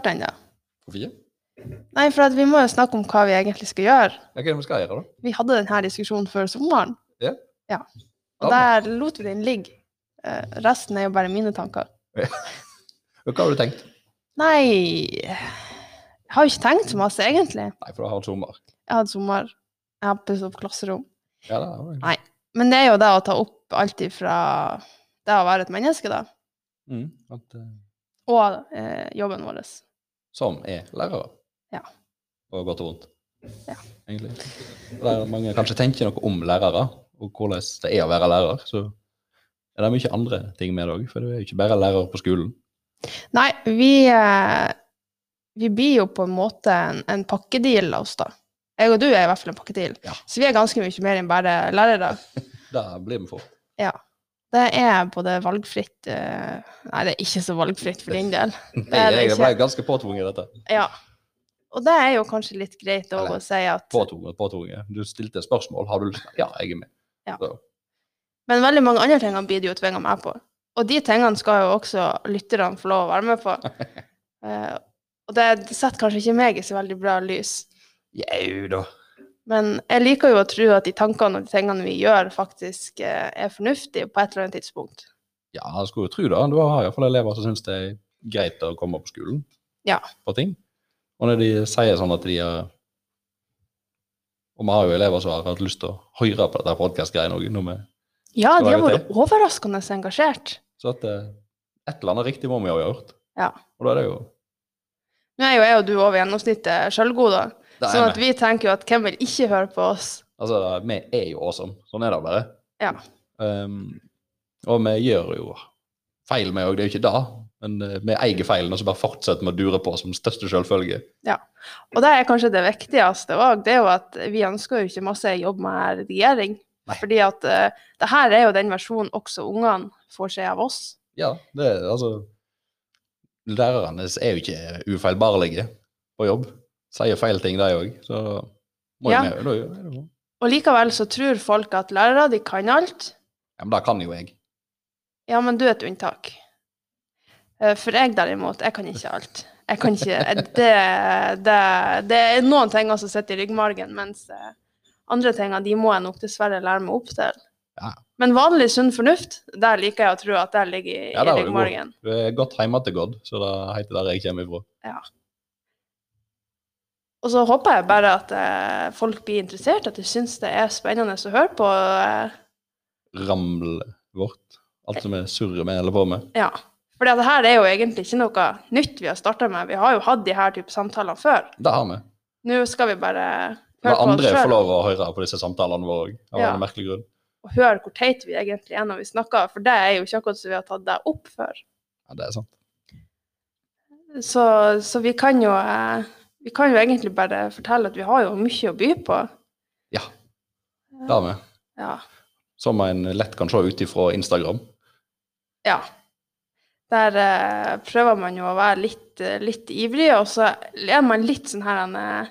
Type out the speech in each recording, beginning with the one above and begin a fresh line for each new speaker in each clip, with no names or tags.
starte ennå.
Hvorfor ikke?
Nei, for at vi må jo snakke om hva vi egentlig skal gjøre.
Ja, Hva er det vi skal gjøre, da?
Vi hadde denne diskusjonen før sommeren.
Ja.
Og
Ja.
der lot vi den ligge. Eh, resten er jo bare mine tanker.
Hva har du tenkt?
Nei Jeg har jo ikke tenkt så masse, egentlig.
Nei, for du har hatt sommer.
Jeg hadde sommer. Jeg har pusset opp klasserom.
Ja, det har du.
Nei. Men det er jo det å ta opp alt ifra det å være et menneske, da,
Mm, at, eh,
og eh, jobben vår.
som er lærere.
Ja.
Og godt og vondt.
Ja.
Egentlig. Og Der mange kanskje tenker noe om lærere, og hvordan det er å være lærer, så er det mye andre ting med det òg. For du er jo ikke bare lærer på skolen.
Nei, vi, eh, vi blir jo på en måte en, en pakkedeal av oss, da. Jeg og du er i hvert fall en pakkedeal,
Ja.
så vi er ganske mye mer enn bare lærere.
Det blir vi for.
Det er både valgfritt eh, Nei, det er ikke så valgfritt for din del.
Jeg,
er det
jeg
ikke.
ble ganske påtvunget dette.
Ja. Og det er jo kanskje litt greit òg
Eller,
å si at
Påtvunget, påtvunget. Du stilte et spørsmål. Har du lyst? Ja, jeg er med.
Men veldig mange andre ting blir det jo tvinga meg på. Og de tingene skal jo også lytterne få lov å være med på. Eh, og det, det setter kanskje ikke meg i så veldig bra lys.
Jau da.
Men jeg liker jo å tro at de tankene og de tingene vi gjør, faktisk eh, er fornuftige på et eller annet tidspunkt.
Ja, jeg skulle jo tro det. Du har iallfall elever som syns det er greit å komme på skolen
Ja.
på ting. Og når de sier sånn at de er Og vi har jo elever som har hatt lyst til å høre på dette podkast-greiene òg.
Ja,
Skal
de har
jeg
vært overraskende engasjert.
Så at eh, et eller annet riktig må vi jo ha gjort.
Ja.
Og da er det jo
Nå er jo jeg og du over gjennomsnittet sjølgode,
det er
sånn at
vi.
vi tenker jo at hvem vil ikke høre på oss?
Altså, vi er jo awesome. Sånn er det bare.
Ja.
Ehm, og vi gjør jo feil, vi òg. Det er jo ikke det. Men eh, vi eier feilen, og så bare fortsetter vi å dure på som største selvfølge.
Og det er kanskje det viktigste òg, det er jo at vi ønsker jo ikke masse jobb med regjering.
Nei.
Fordi at eh, det her er jo den versjonen også ungene får se av oss.
Ja, det er altså Lærerne er jo ikke ufeilbarlige på jobb. Sier feil ting, de òg. Så må
Ja.
jo vi- da er det jo-
Og likevel så tror folk at lærere, de kan alt.
Ja, men det kan jo jeg.
Ja, men du er et unntak. Eh, For jeg derimot, jeg kan ikke alt. Jeg kan ikke eh, Det, det, det er noen ting som sitter i ryggmargen, mens eh, andre ting de må jeg nok dessverre lære meg opp til.
Ja.
Men vanlig sunn fornuft, der liker jeg å tro at det ligger i,
Ja,
i
der var du god.
ryggmargen.
Du er godt heimategått, så det heter der jeg kommer ifra.
Og så håper jeg bare at eh, folk blir interessert, at de syns det er spennende å høre på. eh,
Ramlet vårt. Alt som vi surrer med eller på med.
Ja. For det her er jo egentlig ikke noe nytt vi har starta med. Vi har jo hatt de her type samtaler før.
Det har vi.
Nå skal vi bare
La
høre på oss
andre få
sjøl
lov å høre på disse samtalene våre òg, av
Ja.
en merkelig grunn.
og høre hvor teit vi egentlig er når vi snakker, for det er jo ikke akkurat som vi har tatt det opp før.
Ja, det er sant.
Så, så vi kan jo eh, vi kan jo egentlig bare fortelle at vi har jo mye å by på.
Ja, det har vi.
Ja.
Som en lett kan se ut ifra Instagram.
ja. Der eh, prøver man jo å være litt, eh, litt ivrig, og så er man litt sånn her han, eh,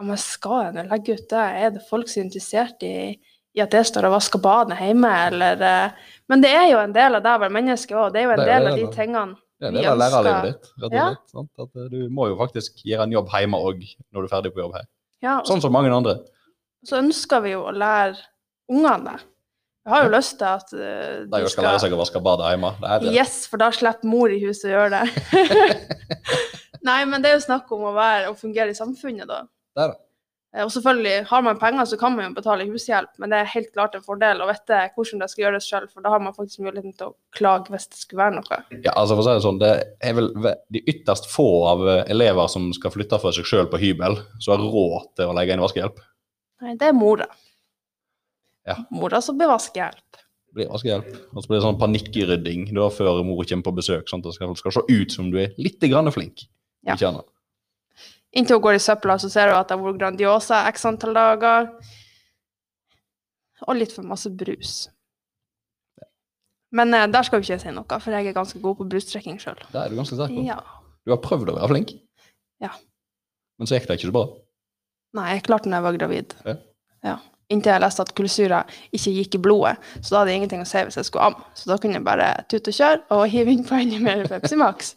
ja, men skal jeg nå legge ut det? Er det folk som er interessert i, i at jeg står og vasker badet hjemme, eller eh, Men det er jo en del av det å være menneske òg. Det er jo en
Det er
del
det,
av de
da.
tingene
Det er
Vi
det der
ønsker-
lærerlivet ditt. rett og
Ja.
slett. Sant? At eh, du må jo faktisk gjøre en jobb hjemme òg når du er ferdig på jobb her.
ja, og
Sånn som mange andre.
så ønsker vi jo å lære ungene det. Jeg har jo lyst til at eh,
De
de
skal, lære seg å vaske badet hjemme. Det er det.
Yes, for da slipper mor i huset å gjøre det. Nei, men det er jo snakk om å, være, å fungere i samfunnet, da.
Det er det.
Eh, Og selvfølgelig, har man penger, så kan man jo betale hushjelp, men det er helt klart en fordel å vite hvordan det skal gjøres sjøl, for da har man faktisk muligheten til å klage hvis det skulle være noe.
Ja, altså for å si det sånn, det er vel ve- de ytterst få av eh, elever som skal flytte for seg sjøl på hybel, som har råd til å legge inn vaskehjelp.
Nei, det er mora.
Ja.
Mora som blir vaskehjelp.
Det blir vaskehjelp. Og så blir det sånn panikkrydding da før mor kommer på besøk, sånn at det skal, skal se ut som du er litt grann flink.
Ja.
Ikke annet.
Inntil hun går i søpla, så ser hun at det har vært Grandiosa x antall dager. Og litt for masse brus. Men eh, der skal jo ikke jeg si noe, for jeg er ganske god på brustrekking sjøl.
Det er du ganske sterk på.
Ja.
Du har prøvd å være flink,
Ja.
men så gikk det ikke så bra.
Nei, jeg klarte når jeg var gravid.
Ja.
Ja. Inntil jeg leste at kullsyra ikke gikk i blodet, så da hadde jeg ingenting å si hvis jeg skulle amme. Så da kunne jeg bare tute og kjøre og hive inn på enda mer Pepsi Max.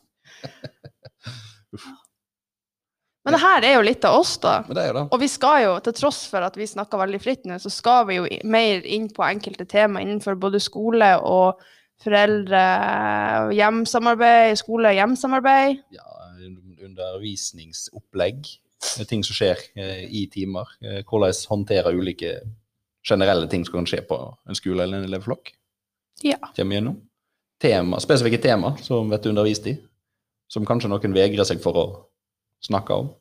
Men det her er jo litt av oss, da.
Men det er jo det.
Og vi skal jo, til tross for at vi snakker veldig fritt nå, så skal vi jo i- mer inn på enkelte tema innenfor både skole og foreldre, og hjemsamarbeid, skole og hjemsamarbeid.
Ja, undervisningsopplegg. eh, Ting som skjer eh, i timer. eh, Hvordan håndtere ulike generelle ting som kan skje på en skole eller en elevflokk.
Ja.
Kommer gjennom. Tema, spesifikke tema som blir undervist i. Som kanskje noen vegrer seg for å snakke om.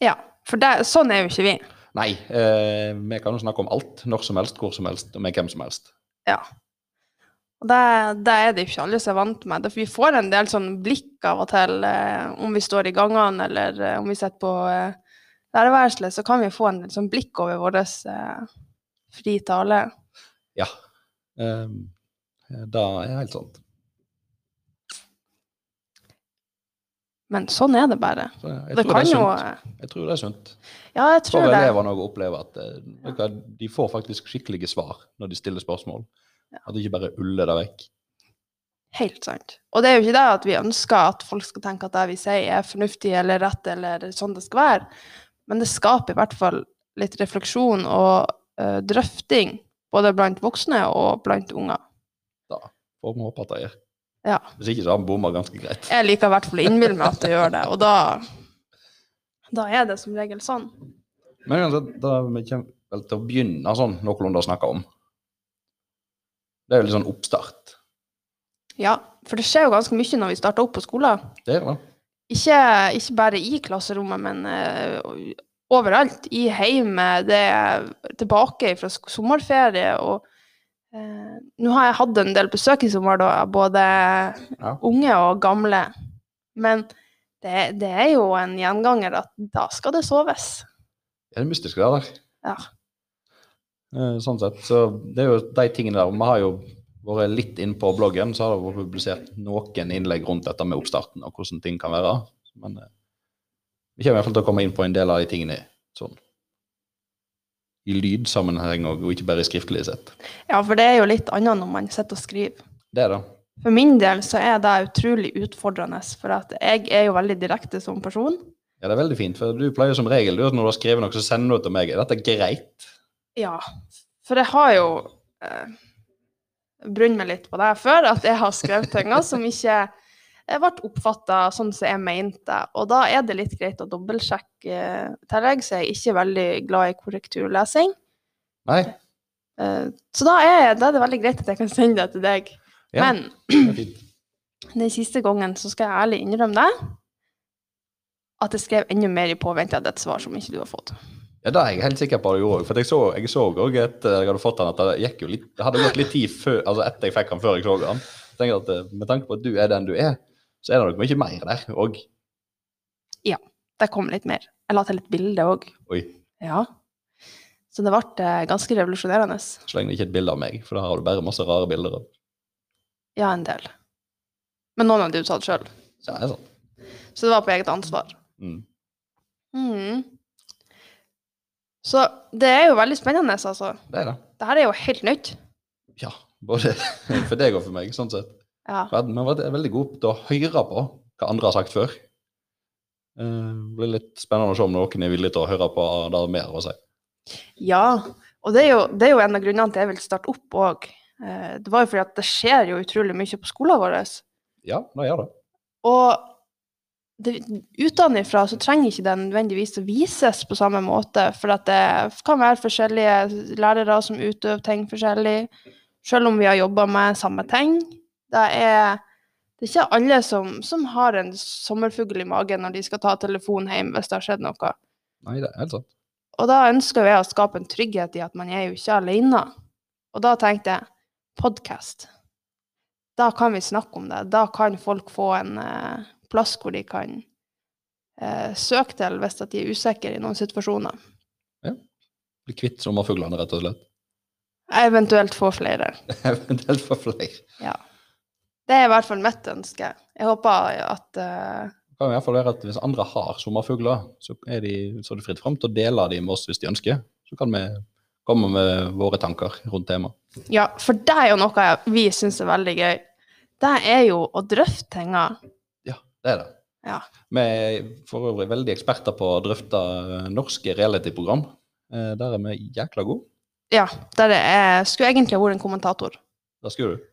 Ja, for det, sånn er jo ikke vi.
Nei, eh, vi kan jo snakke om alt, når som helst, hvor som helst, og med hvem som helst.
Og det, det er det jo ikke alle som er vant med. Det- Vi får en del sånn blikk av og til, eh, om vi står i gangene eller eh, om vi sitter på eh, lærerværelset, så kan vi få en del sånn blikk over vår eh, fri tale.
Ja. Eh, det er helt sant.
Men sånn er det bare.
Så jeg,
Det
tror det
kan
er
jo
sunt. Sånn jeg tror det er sunt.
Ja, jeg
For
tror det.
elevene òg opplever at eh, vet du hva, de får faktisk skikkelige svar når de stiller spørsmål. At de ikke bare uller det vekk.
Helt sant. Og det er jo ikke det at vi ønsker at folk skal tenke at det vi sier er fornuftig eller rett eller sånn det skal være, men det skaper i hvert fall litt refleksjon og eh, drøfting både blant voksne og blant unger.
Får vi håpe at det gjør.
Ja.
Hvis ikke så har vi bomma ganske greit.
Jeg liker i hvert fall å innbille meg at jeg gjør det, og da, da er det som regel sånn.
Men uansett, da vi kommer vel til å begynne sånn noenlunde å snakke om. Det er jo litt sånn oppstart.
Ja, for det skjer jo ganske mye når vi starter opp på skolen.
Det er det.
Ikke, ikke bare i klasserommet, men eh, overalt. I heimet, det er tilbake fra sk- sommerferie. Og eh, nå har jeg hatt en del besøk i sommer, da, både
Ja.
unge og gamle. Men det, det er jo en gjenganger at da skal det soves.
Det er det mystiske der. der.
Ja.
Eh, Sånn sett. Så det er jo de tingene der. Vi har jo vært litt inn på bloggen, så har det vært publisert noen innlegg rundt dette med oppstarten og hvordan ting kan være. Men eh, vi kommer i hvert fall til å komme inn på en del av de tingene sånn i lydsammenheng og, og ikke bare i skriftlig sett.
ja, for det er jo litt annet når man sitter og skriver.
Det er det.
For min del så er det utrolig utfordrende, for at jeg er jo veldig direkte som person.
Ja, det er veldig fint, for du pleier som regel du, at når du har skrevet noe, så sender du det til meg. Er dette greit?
Ja, for jeg har jo eh, brunnet meg litt på det her før, at jeg har skrevet ting som ikke eh, ble oppfatta sånn som jeg mente. Og da er det litt greit å dobbeltsjekke eh, i tillegg, så jeg er ikke veldig glad i korrekturlesing.
Nei?
Eh, så da er, da er det veldig greit at jeg kan sende det til deg.
Ja,
Men
det er fint.
den siste gangen så skal jeg ærlig innrømme det, at jeg skrev enda mer i påvente av et svar som ikke du har fått.
Ja, det er jeg helt sikker på at du gjorde. For jeg så, jeg så også at eh, jeg hadde fått den, at det, gikk jo litt, det hadde gått litt tid før, altså etter jeg fikk den, før jeg så den. Jeg tenker at eh, Med tanke på at du er den du er, så er det nok mye mer der òg.
Det kom litt mer. Jeg la til et bilde òg.
Oi,
Ja. Så det ble eh, ganske revolusjonerende.
så lenge det ikke er et bilde av meg, for da har du bare masse rare bilder. av.
Ja, en del. Men noen hadde jo tatt sjøl,
Så det er sant.
så det var på eget ansvar.
Mm.
Mhm. Så det er jo veldig spennende, altså.
Det er det.
Det her er jo helt nytt.
Ja, både for deg og for meg, sånn sett.
Ja.
Vi har vært veldig gode til å høre på hva andre har sagt før. Eh, Det blir litt spennende å se om noen er villig til å høre på det vi har å si.
ja. Og det er, jo, det er jo en av grunnene til jeg vil starte opp òg. Det var jo fordi at det skjer jo utrolig mye på skolen vår.
Ja, det gjør det.
Og det, utenifra så trenger ikke det nødvendigvis å vises på samme måte, for at det kan være forskjellige lærere som utøver ting forskjellig, selv om vi har jobba med samme ting. Det er, det er ikke alle som, som har en sommerfugl i magen når de skal ta telefonen hjem hvis det har skjedd noe.
Nei, det er helt sant.
Og da ønsker jo jeg å skape en trygghet i at man er jo ikke alene. Og da tenkte jeg podkast. Da kan vi snakke om det. Da kan folk få en eh, plass hvor de kan eh, søke til hvis at de er usikre i noen situasjoner.
Bli kvitt sommerfuglene, rett og slett.
Eventuelt få flere.
Eventuelt for flere.
Det er i hvert fall mitt ønske. Jeg håper at eh,
Det kan i hvert fall være at Hvis andre har sommerfugler, så er, de, så er det fritt fram til å dele de med oss hvis de ønsker. Så kan vi komme med våre tanker rundt temaet.
Ja, for det er jo noe jeg- vi syns er veldig gøy. Det er jo å drøfte tinga.
Det er det.
Ja.
Vi er for øvrig veldig eksperter på å drøfte eh, norske reality-program. Eh, Der er vi jækla gode.
Ja, der er, skulle egentlig ha vært en kommentator.
Der skulle du.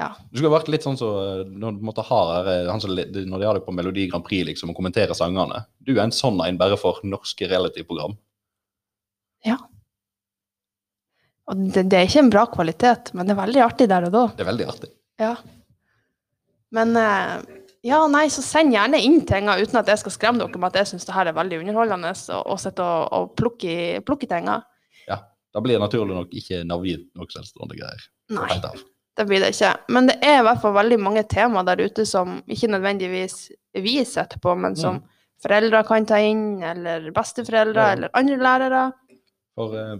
Ja.
Du skulle ha vært litt sånn som eh, når du måtte ha eh, han som, le- når de har deg på Melodi Grand Prix liksom, og kommenterer sangene. Du er en sånn en bare for norske reality-program.
Og det, det er ikke en bra kvalitet, men det er veldig artig der og da.
Det er veldig artig.
Ja. Men eh, ja, nei, så send gjerne inn tinga uten at jeg skal skremme dere med at jeg syns det her er veldig underholdende å å sitte og, og plukke, i- plukke tinga.
Da blir det naturlig nok ikke navngitt noe selvstående greier.
Nei,
Dette her.
det blir det ikke. Men det er i hvert fall veldig mange tema der ute som ikke nødvendigvis vi setter på, men som foreldre kan ta inn, eller besteforeldre,
Ja.
eller andre lærere.
For eh,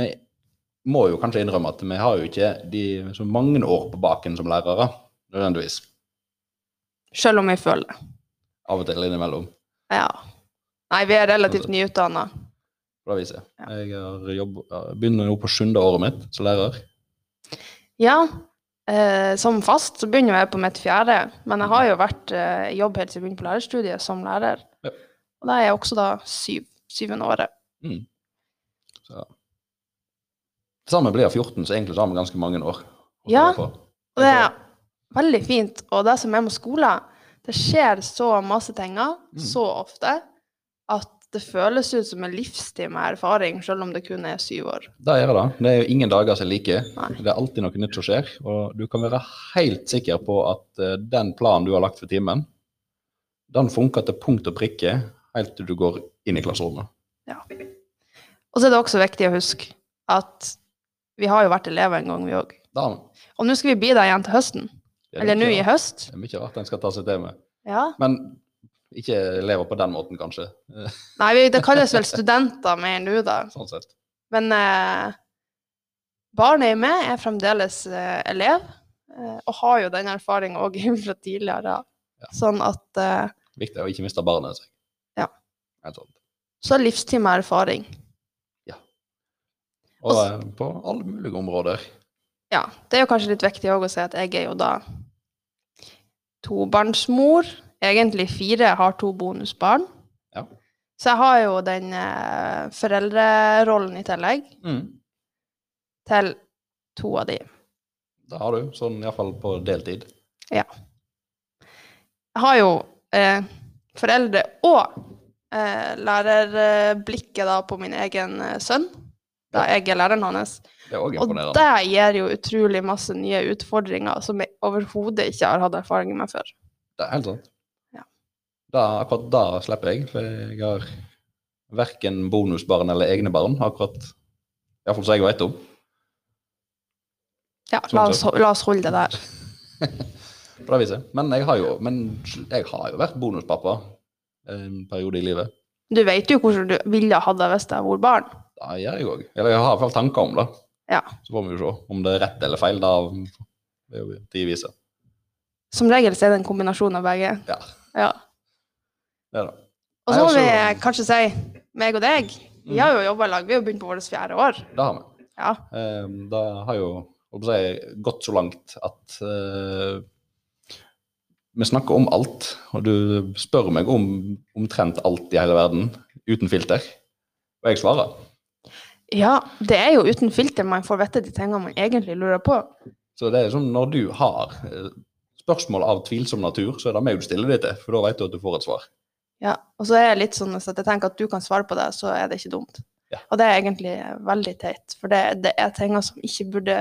vi må jo kanskje innrømme at vi har jo ikke de så mange år på baken som lærere, nødvendigvis.
Selv om vi føler det.
Av og til innimellom.
Ja. Nei, vi er relativt nyutdanna.
på det viset. Jeg har jobb, begynner nå på sjuende året mitt som lærer.
Ja, eh, som fast så begynner jeg på mitt fjerde, men jeg har jo vært eh, i jobb helt siden jeg begynte på lærerstudiet som lærer.
Ja.
Og da er jeg også da syv, syvende året.
Mm. Det samme blir jeg 14, så egentlig så har vi ganske mange år. å stå
Ja.
på.
Og det er veldig fint, og det som er med skolen, det skjer så masse tinger,
Mm.
så ofte, at det føles ut som en livstid med erfaring, selv om det kun er syv år.
Det er det. Det er jo ingen dager som er like.
Nei.
Det er alltid noe nytt som skjer. Og du kan være helt sikker på at eh, den planen du har lagt for timen, den funker til punkt og prikke helt til du går inn i klasserommet.
Og så er det også viktig å huske at vi har jo vært elever en gang vi òg.
Da,
Og nå skal vi bli der igjen til høsten.
det er
Eller nå
mye
i
rart.
høst.
Det er mye rart en skal ta seg til med.
Ja.
Men ikke elever på den måten, kanskje. eh,
Nei, vi, det kalles vel studenter mer nå, da.
Sånn sett.
Men eh, barnet i meg er fremdeles eh, elev, eh, og har jo den erfaringen òg fra tidligere. Sånn at eh,
Viktig å ikke miste barnet seg.
Ja.
Helt sant.
Så er livstid med erfaring.
Og
Og s-
eh, på alle mulige områder.
Ja, det er jo kanskje litt viktig òg å si at jeg er jo da tobarnsmor. Egentlig fire, har to bonusbarn.
Ja.
Så jeg har jo den eh, foreldrerollen i tillegg
Mm.
til to av de.
Det har du, sånn iallfall på deltid.
Jeg har jo eh, foreldre og eh, lærerblikket da på min egen eh, sønn, da jeg er læreren hans.
Det er òg
Og
imponerende.
det gir jo utrolig masse nye utfordringer som jeg overhodet ikke har hatt erfaring med før.
Det er helt sant.
Ja.
Da, akkurat da slipper jeg, for jeg har verken bonusbarn eller egne barn. akkurat Iallfall som jeg vet om.
Ja,
Sånn
la oss, ho- la oss holde det der.
På det viset. Men jeg har jo, men jeg har jo vært bonuspappa en periode i livet.
Du vet jo hvordan du ville hatt det hvis jeg var barn.
Det gjør jeg òg. Eller jeg har iallfall tanker om det.
Ja.
Så får vi jo se om det er rett eller feil. Da det er jo tid viser.
Som regel så er det en kombinasjon av begge.
Ja.
Ja.
Det er det.
Og
Nei,
så må vi
altså- Mm.
kanskje si, meg og deg, vi har jo jobba i lag, vi har jo begynt på vårt fjerde år.
Det har vi.
Ja.
Eh, Det har jo holdt på å si, gått så langt at eh, vi snakker om alt. Og du spør meg om omtrent alt i hele verden uten filter. Og jeg svarer.
Ja, det er jo uten filter man får vite de tingene man egentlig lurer på.
Så det er som når du har eh, spørsmål av tvilsom natur, så er det meg du stiller det til. For da vet du at du får et svar.
Ja, og så er jeg litt sånn at jeg tenker at du kan svare på det, så er det ikke dumt.
Ja.
Og det er egentlig veldig teit, for det, det er ting som ikke burde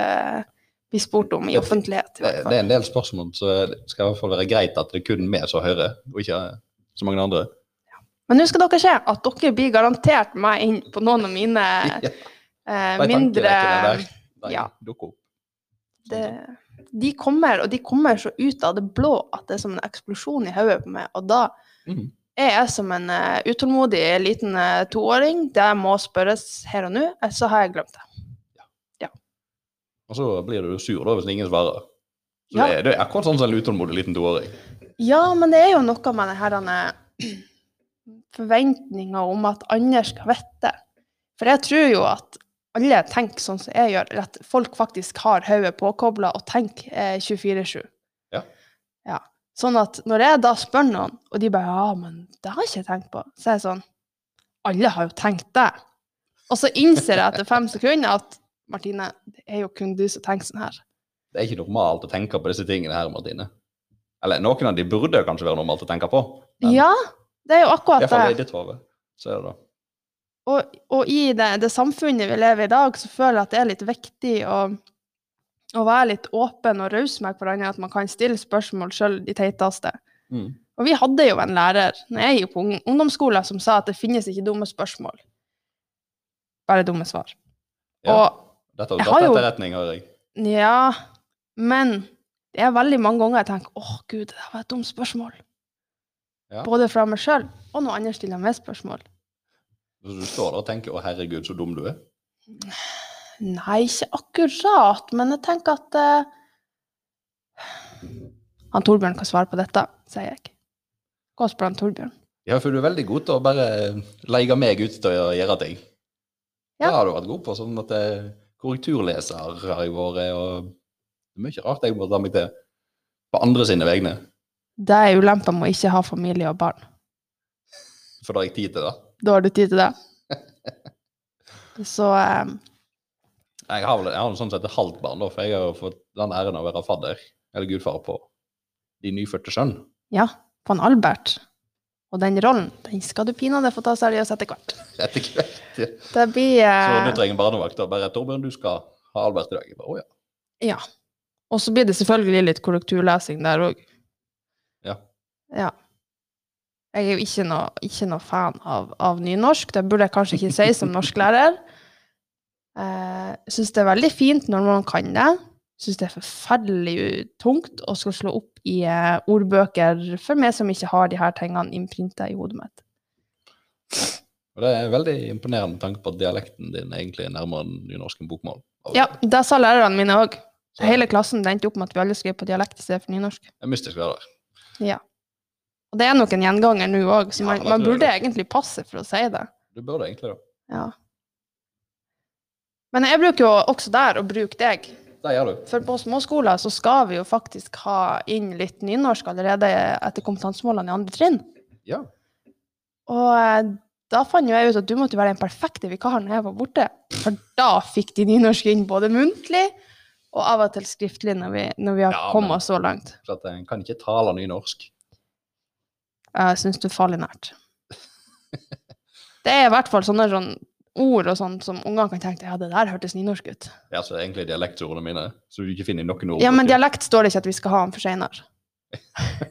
bli spurt om i
Det-
offentlighet. i
Det,
hvert
det
fall.
er en del spørsmål, så det skal i hvert fall være greit at det er kun vi som hører, og ikke så mange andre.
Men nå skal dere se at dere blir garantert meg inn på noen av mine
Ja,
eh,
de
mindre
tankerekkene der, de
ja.
dukker opp.
det, De kommer, og de kommer så ut av det blå at det er som en eksplosjon i hodet på meg, og da
Mhm.
Jeg er som en eh, utålmodig liten eh, toåring. Det må spørres her og nå, ellers så har jeg glemt det.
Og så blir du jo sur da hvis ingen svarer. Så
Ja.
det, er, det er akkurat sånn som en utålmodig liten toåring.
Ja, men det er jo noe med denne forventninga om at andre skal vite. For jeg tror jo at alle tenker sånn som jeg gjør, eller at folk faktisk har hodet påkobla og tenker eh, 24-7.
Ja.
Ja. Sånn at når jeg da spør noen, og de bare 'ja, men det har ikke jeg tenkt på', så er jeg sånn Alle har jo tenkt det. Og så innser jeg etter fem sekunder at Martine, det er jo kun du som tenker sånn her.
Det er ikke normalt å tenke på disse tingene her, Martine. Eller noen av de burde kanskje være normalt å tenke på. Men-
Ja, det er jo akkurat
Iallfall i
det.
ditt hode. Så er det da.
Og, og i det, det samfunnet vi lever i i dag, så føler jeg at det er litt viktig å, å være litt åpen og raus med hverandre, at man kan stille spørsmål sjøl de teiteste.
Mm.
Og vi hadde jo en lærer når jeg gikk på ung- ungdomsskolen som sa at det finnes ikke dumme spørsmål, bare dumme svar.
Ja.
Og
Dette har
Jeg
vi
har
tatt til
jo-
etterretning, hører jeg.
ja, men det er veldig mange ganger jeg tenker åh gud, det der var et dumt spørsmål.
Ja.
Både fra meg sjøl og noen andre stiller meg spørsmål.
Så du står der og tenker 'Å, herregud, så dum du er'.
Nei, ikke akkurat, men jeg tenker at eh, Han Torbjørn kan svare på dette, sier jeg. Gå og spør han Torbjørn.
Ja, for du er veldig god til å bare eh, leie meg ut til å gjøre ting.
Ja.
Det har du vært god på. sånn at eh, Korrekturleser har jeg vært, og det er mye rart jeg må ta meg til på andre sine vegne.
Det er ulempa med å ikke ha familie og barn.
For da har jeg tid til det.
Da har du tid til det. Så eh,
Jeg har vel jeg har sånn sett et halvt barn, da, for jeg har jo fått den æren av å være fadder, eller gudfar, på de nyfødte sønn.
ja, på han Albert og den rollen, den skal du pinadø få ta seriøst etter hvert.
Etter hvert. ja.
Det blir
Så
eh,
nå trenger jeg barnevakt. og Bare 'Torbjørn, du skal ha Albert i dag'. Jeg bare, Å ja.
Ja. Og så blir det selvfølgelig litt korrekturlesing der òg.
Ja.
Ja. Jeg er jo ikke noe, ikke noe fan av, av nynorsk. Det burde jeg kanskje ikke si som norsklærer. Eh, Syns det er veldig fint når man kan det. Syns det er forferdelig tungt å skal slå opp i eh, ordbøker for meg som ikke har de her tingene innprinta i hodet mitt.
Og det er veldig imponerende med tanke på at dialekten din egentlig er nærmere nynorsk enn bokmål.
Ja, det sa lærerne mine òg.
Så
Hele klassen det endte opp med at vi alle skrev på dialekt i stedet for nynorsk.
Det er mystisk det der.
Og det er nok en gjenganger nå òg, så
Ja,
man,
det
man
tror jeg
burde
det.
egentlig passe for å si det.
Du burde egentlig det.
Ja. Men jeg bruker jo også der å bruke deg,
Det gjør du.
for på småskoler så skal vi jo faktisk ha inn litt nynorsk allerede etter kompetansemålene i andre trinn.
Ja.
Og eh, da fant jo jeg ut at du måtte være den perfekte vikaren når jeg var borte, for da fikk de nynorsk inn både muntlig og av og til skriftlig når vi, når vi har
Ja, men-
kommet oss så langt.
For at en kan ikke tale nynorsk.
Jeg syns du faller nært. Det er i hvert fall sånne sånn ord og sånt som ungene kan tenke ja, det der hørtes nynorsk ut.
Det er altså egentlig dialektordene mine, så du ikke finner noen ord.
Ja, men dialekt står det ikke at vi skal ha den for seinere.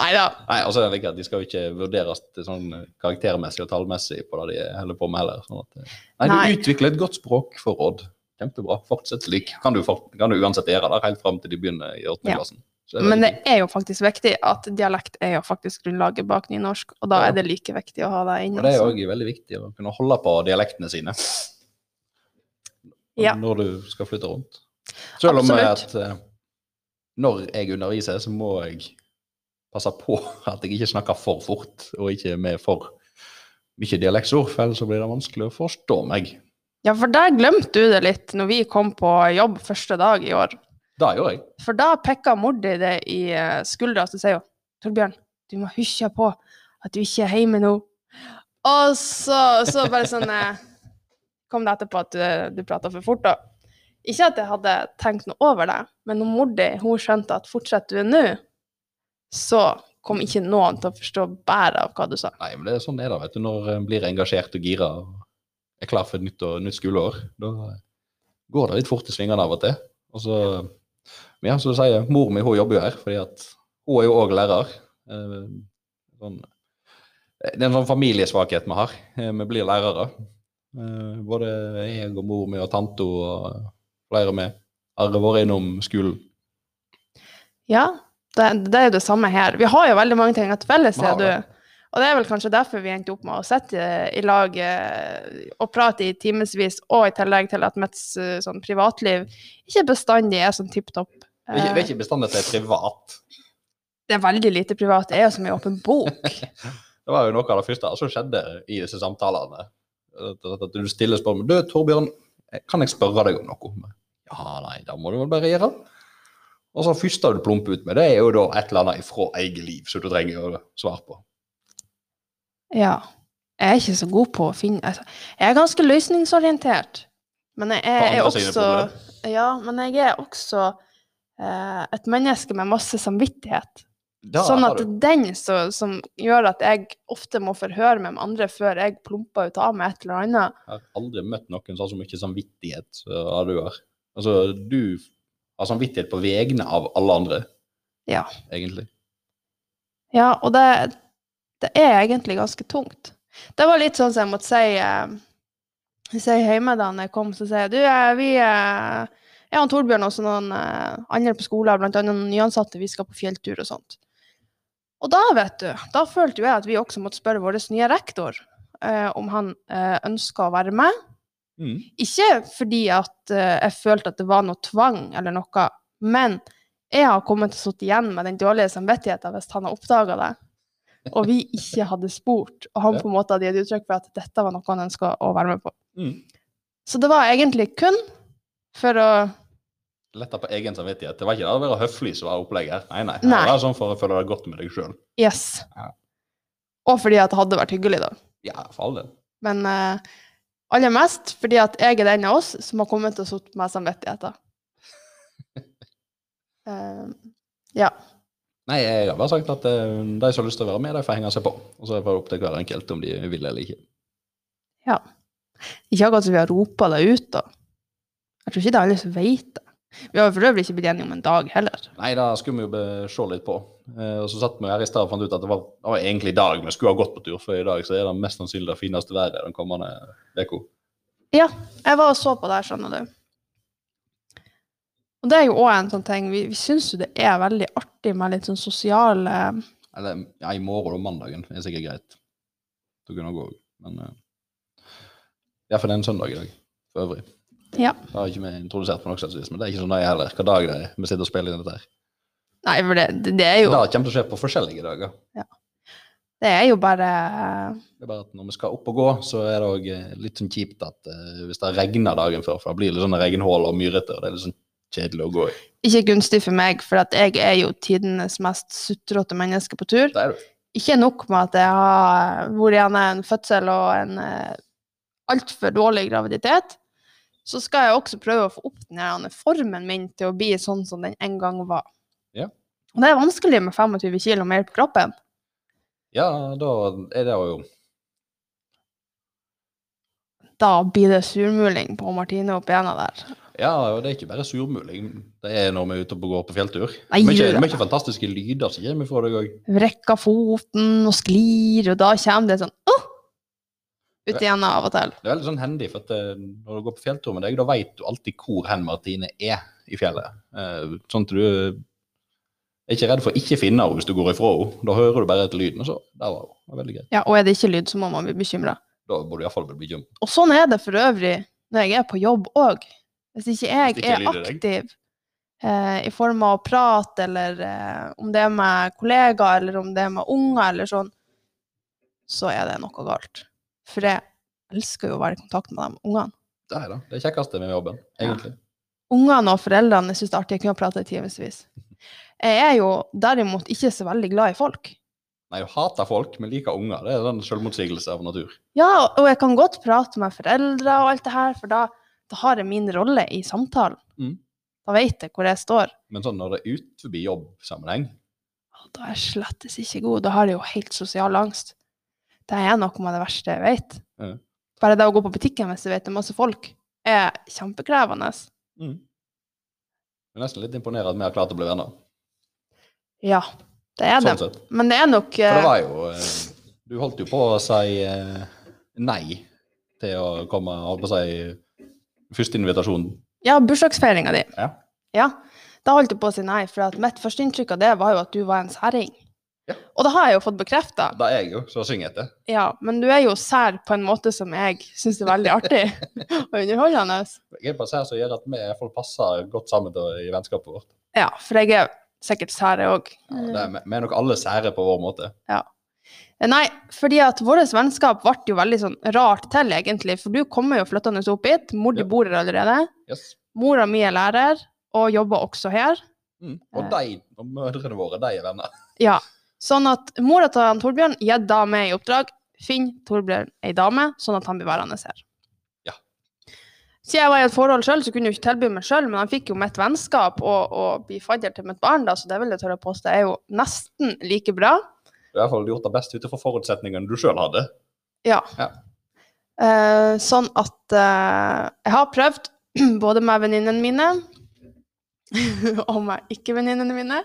Nei da.
Nei, altså det er like at De skal jo ikke vurderes til sånn eh, karaktermessig og tallmessig på det de holder på med heller. Sånn at, eh, nei,
Nei.
du utvikler et godt språkforråd. Kjempebra. Fortsett slik. Kan du, fort- kan du uansett gjøre det helt fram til de begynner i
Ja.
åttende klassen. Så
Men det
veldig fint.
er jo faktisk viktig at dialekt er jo faktisk grunnlaget bak nynorsk, og da
Ja.
er det like viktig å ha det
Og
inne. altså.
det er
også.
òg veldig viktig å kunne holde på dialektene sine
Ja.
når du skal flytte rundt. Selv om at
Absolutt.
eh, når jeg underviser, så må jeg passe på at jeg ikke snakker for fort, og ikke med for mye dialektsord, for ellers så blir det vanskelig å forstå meg.
Ja, for der glemte du det litt når vi kom på jobb første dag i år.
Det gjør jeg.
For da pekka mor di det i eh, skuldra, og så sier hun Torbjørn, du må huske på at du ikke er hjemme nå. Og så, så bare sånn eh, kom det etterpå at eh, du, du prata for fort, da. Ikke at jeg hadde tenkt noe over det, men når mor di hun skjønte at fortsetter du nå, så kom ikke noen til å forstå bæret av hva du sa.
Nei, men det er sånn det er da, vet du. Når en blir engasjert og gira og er klar for et nytt, og, nytt skoleår, da går det litt fort i svingene av og til. Og så, men ja, som du sier, mor mi hun jobber jo her, fordi at hun er jo òg lærer. Eh, Sånn, det er en sånn familiesvakhet vi har. Eh, Vi blir lærere. Eh, Både jeg og mor mi og tante og flere med har vært innom skolen.
Ja, det, det er jo det samme her. Vi har jo veldig mange ting til felles,
Vi
ser
har
du.
det.
Og det er vel kanskje derfor vi endte opp med å sitte i lag eh, og prate i timevis, og i tillegg til at mitt eh, sånn, privatliv ikke bestandig er sånn tipp topp. Eh,
Det er ikke, det er ikke bestandig at det er privat.
Det er veldig lite privat. Det er jo som en åpen bok.
Det var jo noe av det første som skjedde i disse samtalene. At at du stiller spørsmål. Du, Torbjørn, kan jeg spørre deg om noe? Ja, nei, da må du vel bare gjøre det. Og så første du plumper ut med, det er jo da et eller annet ifra eget liv som du trenger å svare på.
Ja. Jeg er ikke så god på å finne altså, Jeg er ganske løsningsorientert. Men jeg
På
er, er
andre sine
også Ja, men jeg er også eh, et menneske med masse samvittighet.
Da
sånn
har
at
du-
den så, som gjør at jeg ofte må forhøre meg med andre før jeg plumper ut av meg et eller annet.
Jeg har aldri møtt noen sånn som har så mye samvittighet som ja, du har. Altså, du har samvittighet på vegne av alle andre.
Ja.
Egentlig.
Ja, og det, det er egentlig ganske tungt. Det var litt sånn som jeg måtte si eh, si hjemme da når jeg kom, så sier jeg du, eh, vi eh, jeg og Torbjørn og også noen eh, andre på skolen, blant annet noen nyansatte, vi skal på fjelltur og sånt. Og da, vet du, da følte jo jeg at vi også måtte spørre vår nye rektor eh, om han eh, ønska å være med.
Mm.
Ikke fordi at eh, jeg følte at det var noe tvang eller noe, men jeg har kommet til å sitte igjen med den dårlige samvittigheten hvis han har oppdaga det, og vi ikke hadde spurt, og han
Ja.
på en måte hadde gitt uttrykk for at dette var noe han ønska å være med på.
Mm.
Så det var egentlig kun for å
Letta på egen samvittighet. Det var ikke det å være høflig som var opplegget her. Nei, nei.
Nei.
Det var sånn for å føle deg godt med deg sjøl.
Yes.
Ja.
Og fordi at det hadde vært hyggelig, da.
Ja, for all del.
Men eh, aller mest fordi at jeg er den av oss som har kommet til å sitte med samvittigheten. Eh, ja.
Nei, jeg har bare sagt at eh, de som har lyst til å være med, de får henge seg på. Og så er det bare opp til hver enkelt om de vil eller ikke.
Ikke akkurat som vi har ropa det ut, da. Jeg tror ikke det er alle som veit det. Vi har for øvrig ikke blitt enige om en dag heller.
Nei, det skulle vi jo be- se litt på. Eh, og så satt vi her i stad og fant ut at det var, det var egentlig i dag vi skulle ha gått på tur, for i dag så er det mest sannsynlig det fineste været den kommende uka.
Jeg var og så på det her, skjønner du. Og det er jo òg en sånn ting Vi, vi syns jo det er veldig artig med litt sånn sosiale
Eller ja, i morgen og mandagen er sikkert greit. Da kunne det gå òg. Men eh, ja, for det er en søndag i dag for øvrig.
Ja.
Det har ikke vi introdusert på noe slags vis, men det er ikke så nøye heller hva dag det er vi sitter og spiller inn dette her.
Nei, for det, det- det er
Det
jo
kommer til å skje på forskjellige dager.
Det er jo bare eh,
Det er bare at når vi skal opp og gå, så er det òg litt sånn kjipt at eh, hvis det regner dagen før, for det blir litt sånn regnhull og myrete, og det er litt sånn kjedelig å gå i.
ikke gunstig for meg, for at jeg er jo tidenes mest sutrete menneske på tur.
Det er det.
Ikke nok med at jeg har vært igjen en fødsel og en eh, altfor dårlig graviditet, så skal jeg også prøve å få opp den her formen min til å bli sånn som den en gang var.
Ja.
Og det er vanskelig med 25 kilo mer på kroppen.
Ja, da er det jo
Da blir det surmuling på Martine og bena der.
Ja, og det er ikke bare surmuling. Det er når vi er ute og går på fjelltur.
Nei,
Mye
gjør det.
mye fantastiske lyder som kommer fra deg òg.
Vrekker foten og sklir, og da kommer det sånn åh! ut igjen av og til.
Det er veldig sånn hendig, for at eh, når du går på fjelltur med deg, da veit du alltid hvor hen Martine er i fjellet. Eh, Sånn at du er ikke redd for å ikke finne henne hvis du går ifra henne. Da hører du bare etter lyden, og så der var hun. Det var veldig greit.
Ja, og er det ikke lyd, så må man bli bekymra.
Da burde du iallfall bli bekymret.
Og sånn er det for øvrig når jeg er på jobb òg. Hvis ikke jeg
Hvis ikke
er
lyder deg.
aktiv eh, i form av å prate, eller eh, om det er med kollegaer, eller om det er med unger, eller sånn, så er det noe galt. For jeg elsker jo å være i kontakt med de ungene.
Det er det. Det er kjekkeste med jobben, egentlig.
Ungene og foreldrene syns det er artig å kunne prate i timevis. Jeg er jo derimot ikke så veldig glad i folk.
Nei, jeg hater folk, men liker unger. Det er en selvmotsigelse av natur.
Ja, og- og jeg kan godt prate med foreldre og alt det her, for da, da har jeg min rolle i samtalen.
Mm.
Da veit jeg hvor jeg står.
Men sånn når det er utenfor jobbsammenheng
Og da er jeg slettes ikke god. Da har jeg jo helt sosial angst. Det er noe av det verste jeg vet.
Ja.
Bare det å gå på butikken hvis jeg vet det er masse folk, er kjempekrevende.
Jeg er nesten litt imponert at vi har klart å bli venner.
Ja, det er det.
Sånn sett.
Men det er nok
For det
eh,
var jo eh, Du holdt jo på å si eh, nei til å komme holdt på å si første invitasjon.
eh, Ja, bursdagsfeiringa di.
Ja.
Ja, Da holdt jeg på å si nei, for at mitt førsteinntrykk av det var jo at du var en særing.
Ja.
Og det har jeg jo fått bekrefta.
Det er jeg jo, så synger jeg etter.
Ja, men du er jo sær på en måte som jeg syns er veldig artig og underholdende.
Jeg er bare sær som gjør at vi folk passer godt sammen til, i vennskapet vårt.
Ja, for jeg er sikkert sær, jeg òg.
Ja, det er, vi er nok alle sære på vår måte.
Nei, fordi at vårt vennskap ble jo veldig sånn rart til, egentlig. For du kommer jo flyttende opp hit. Mor di
Ja.
bor her allerede.
Yes.
Mora mi er lærer og jobber også her.
Mm. Og de, og mødrene våre, de er venner.
Ja. Sånn at mora til han Torbjørn gir da meg i oppdrag finn Torbjørn ei dame, sånn at han blir værende her.
Ja.
Siden jeg var i et forhold sjøl, så kunne jeg jo ikke tilby meg sjøl, men han fikk jo mitt vennskap og, og bli fadder til mitt barn, da, så det vil jeg tørre å påstå er jo nesten like bra.
Du har i hvert fall gjort det best ut fra forutsetningene du sjøl hadde.
Eh, sånn at eh, jeg har prøvd både med venninnene mine og med ikke-venninnene mine.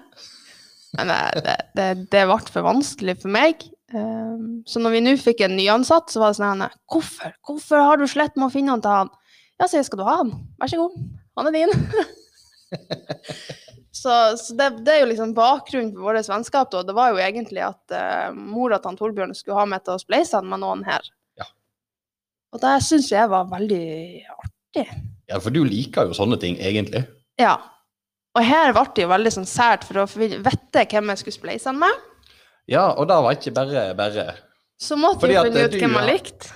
Men det, det, det, det ble for vanskelig for meg. Eh, så når vi nå fikk en nyansatt, så var det sånn her Hvorfor Hvorfor har du slett med å finne han til han? Ja, sier jeg, skal du ha han? Vær så god, han er din. så så det, det er jo liksom bakgrunnen for vårt vennskap. Da. Det var jo egentlig at eh, mora til han Torbjørn skulle ha meg til å spleise han med noen her. Og det syns jeg var veldig artig.
Ja, for du liker jo sånne ting, egentlig.
Ja. Og her ble det jo veldig sånn sært, for å få vite hvem jeg skulle spleise han med,
Ja, og det var ikke bare bare.
så måtte
Fordi
jeg jo
at eh,
finne
du
ut hvem
har-
jeg likte.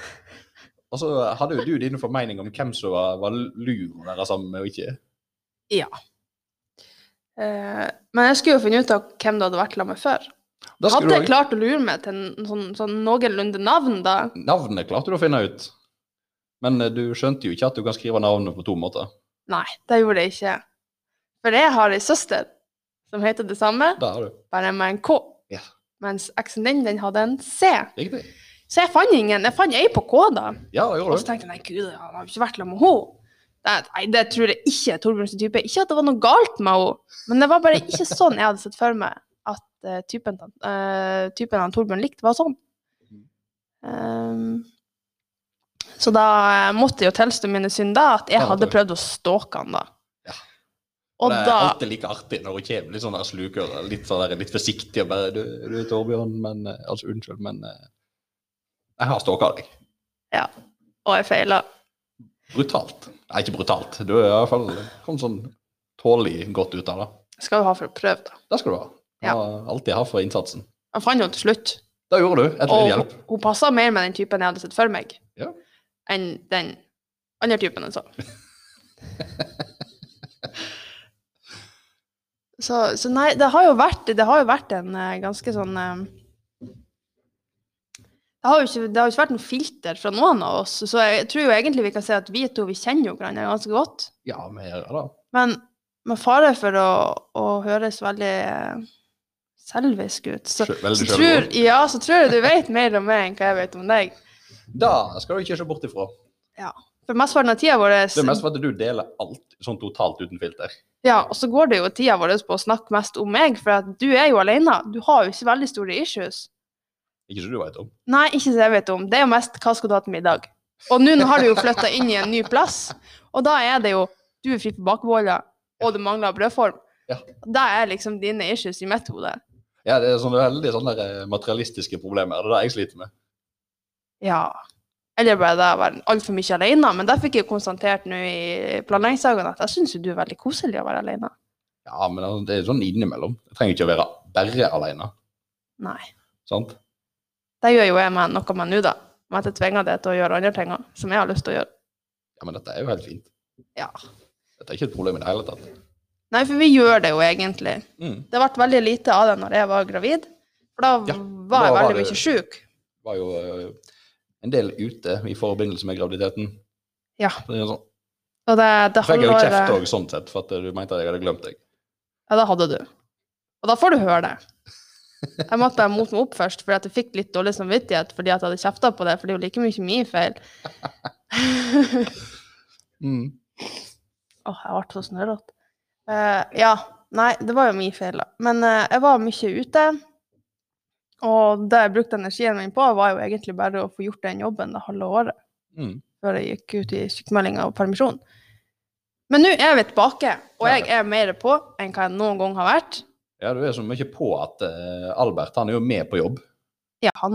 Og så hadde jo du dine formening om hvem som var, var lur å være sammen med og ikke.
Eh, Men jeg skulle jo finne ut av hvem du hadde vært sammen med før.
Da skulle
Hadde
du
jeg
ha-
klart å lure meg til en sånn, sånn noenlunde navn, da?
Navnet klarte du å finne ut. Men eh, du skjønte jo ikke at du kan skrive navnet på to måter.
Nei, det gjorde jeg ikke. For jeg har ei søster som heter det samme,
Det har du.
bare med en K.
Ja.
Mens eksen din, den hadde en C.
Riktig.
Så jeg fant ingen. Jeg fant ei på K, da.
Ja,
Og
det gjorde
så
du.
tenkte jeg nei, gud, han har jo ikke vært sammen med henne. Nei, nei, det tror jeg ikke er Torbjørns type. Ikke at det var noe galt med henne, men det var bare ikke sånn jeg hadde sett for meg at eh, typen, til- eh, typen han Torbjørn likte, var sånn. Ehm, så da eh, måtte jeg jo tilstå mine synder, at jeg
Ja,
hadde
det-
prøvd å stalke han da.
Ja.
Og
det er
da
alltid like artig når hun kommer litt sånn der slukøre, litt, sånn der, litt forsiktig og bare du, du Torbjørn, men eh, Altså, unnskyld, men eh, Jeg har stalka deg.
Og jeg feila.
Brutalt. Nei, ikke brutalt. Du er i hvert fall kom sånn tålelig godt ut av det.
Skal jo ha for å prøve, da.
Det skal du ha.
Ja.
Ja. Alltid ha for innsatsen.
Han fant jo til slutt.
Det gjorde du. Etter
Og
litt
hun,
hjelp.
hun passa mer med den typen jeg hadde sett for meg,
Ja.
enn den andre typen jeg så. så. Så nei, det har jo vært, det har jo vært en eh, ganske sånn eh, det har, jo ikke, det har jo ikke vært noe filter fra noen av oss, så jeg tror jo egentlig vi kan si at vi to vi kjenner jo hverandre ganske godt.
Ja, vi gjør det.
Men med fare for å, å høres veldig eh, selvisk ut, så
Sjø- Veldig
så
sjølgod.
tror, ja, så tror jeg du vet mer om meg enn hva jeg vet om deg.
Da skal du ikke se bort ifra.
For mesteparten av tida vår
Det er mest for at du deler alt sånn totalt uten filter.
Ja, og så går det jo tida vår på å snakke mest om meg, for at du er jo alene. Du har jo ikke veldig store issues.
Ikke som du vet om.
Nei, ikke som jeg vet om. Det er jo mest 'hva skal du ha til middag'? Og nå har du jo flytta inn i en ny plass, og da er det jo du er fri for bakeboller, og du mangler brødform.
Ja.
Det er liksom dine issues i mitt hode.
Ja, Det er sånne veldig sånne der, eh, materialistiske problemer. Det er det jeg sliter med.
Ja. Eller ble det å være altfor mye alene? Men det fikk jeg jo konstatert nå i planleggingsdagen, at jeg syns jo du er veldig koselig å være alene.
Ja, men altså, det er sånn innimellom. Jeg trenger ikke å være bare alene.
Nei.
Sant?
Det gjør jo jeg med noe med nå, da. Med at jeg tvinger deg til å gjøre andre ting også, som jeg har lyst til å gjøre.
Ja, Men dette er jo helt fint.
Ja.
Dette er ikke et problem i det hele tatt.
Nei, for vi gjør det jo egentlig.
Mm.
Det ble veldig lite av det når jeg var gravid. For da
Ja,
var jeg
da var
veldig
det-
mye sjuk.
Var jo eh, en del ute i forbindelse med graviditeten.
Ja.
Så det er sånn,
Og det, det
Fikk jeg jo
halvåret-
kjeft òg, sånn sett, for at du mente at jeg hadde glemt deg.
Ja, det hadde du. Og da får du høre det. Jeg måtte bare mote meg opp først, fordi at jeg fikk litt dårlig samvittighet fordi at jeg hadde kjefta på det, for det er jo like mye min feil. Åh,
Mm.
jeg ble så snørrete. Eh, ja. Nei, det var jo min feil, da. Men eh, jeg var mye ute. Og det jeg brukte energien min på, var jo egentlig bare å få gjort den jobben det halve året
Mm.
før jeg gikk ut i sykemeldinga og permisjon. Men nå er vi tilbake, og jeg er mer på enn hva jeg noen gang har vært.
Ja, du er så mye på at eh, Albert han er jo med på jobb.
Ja, han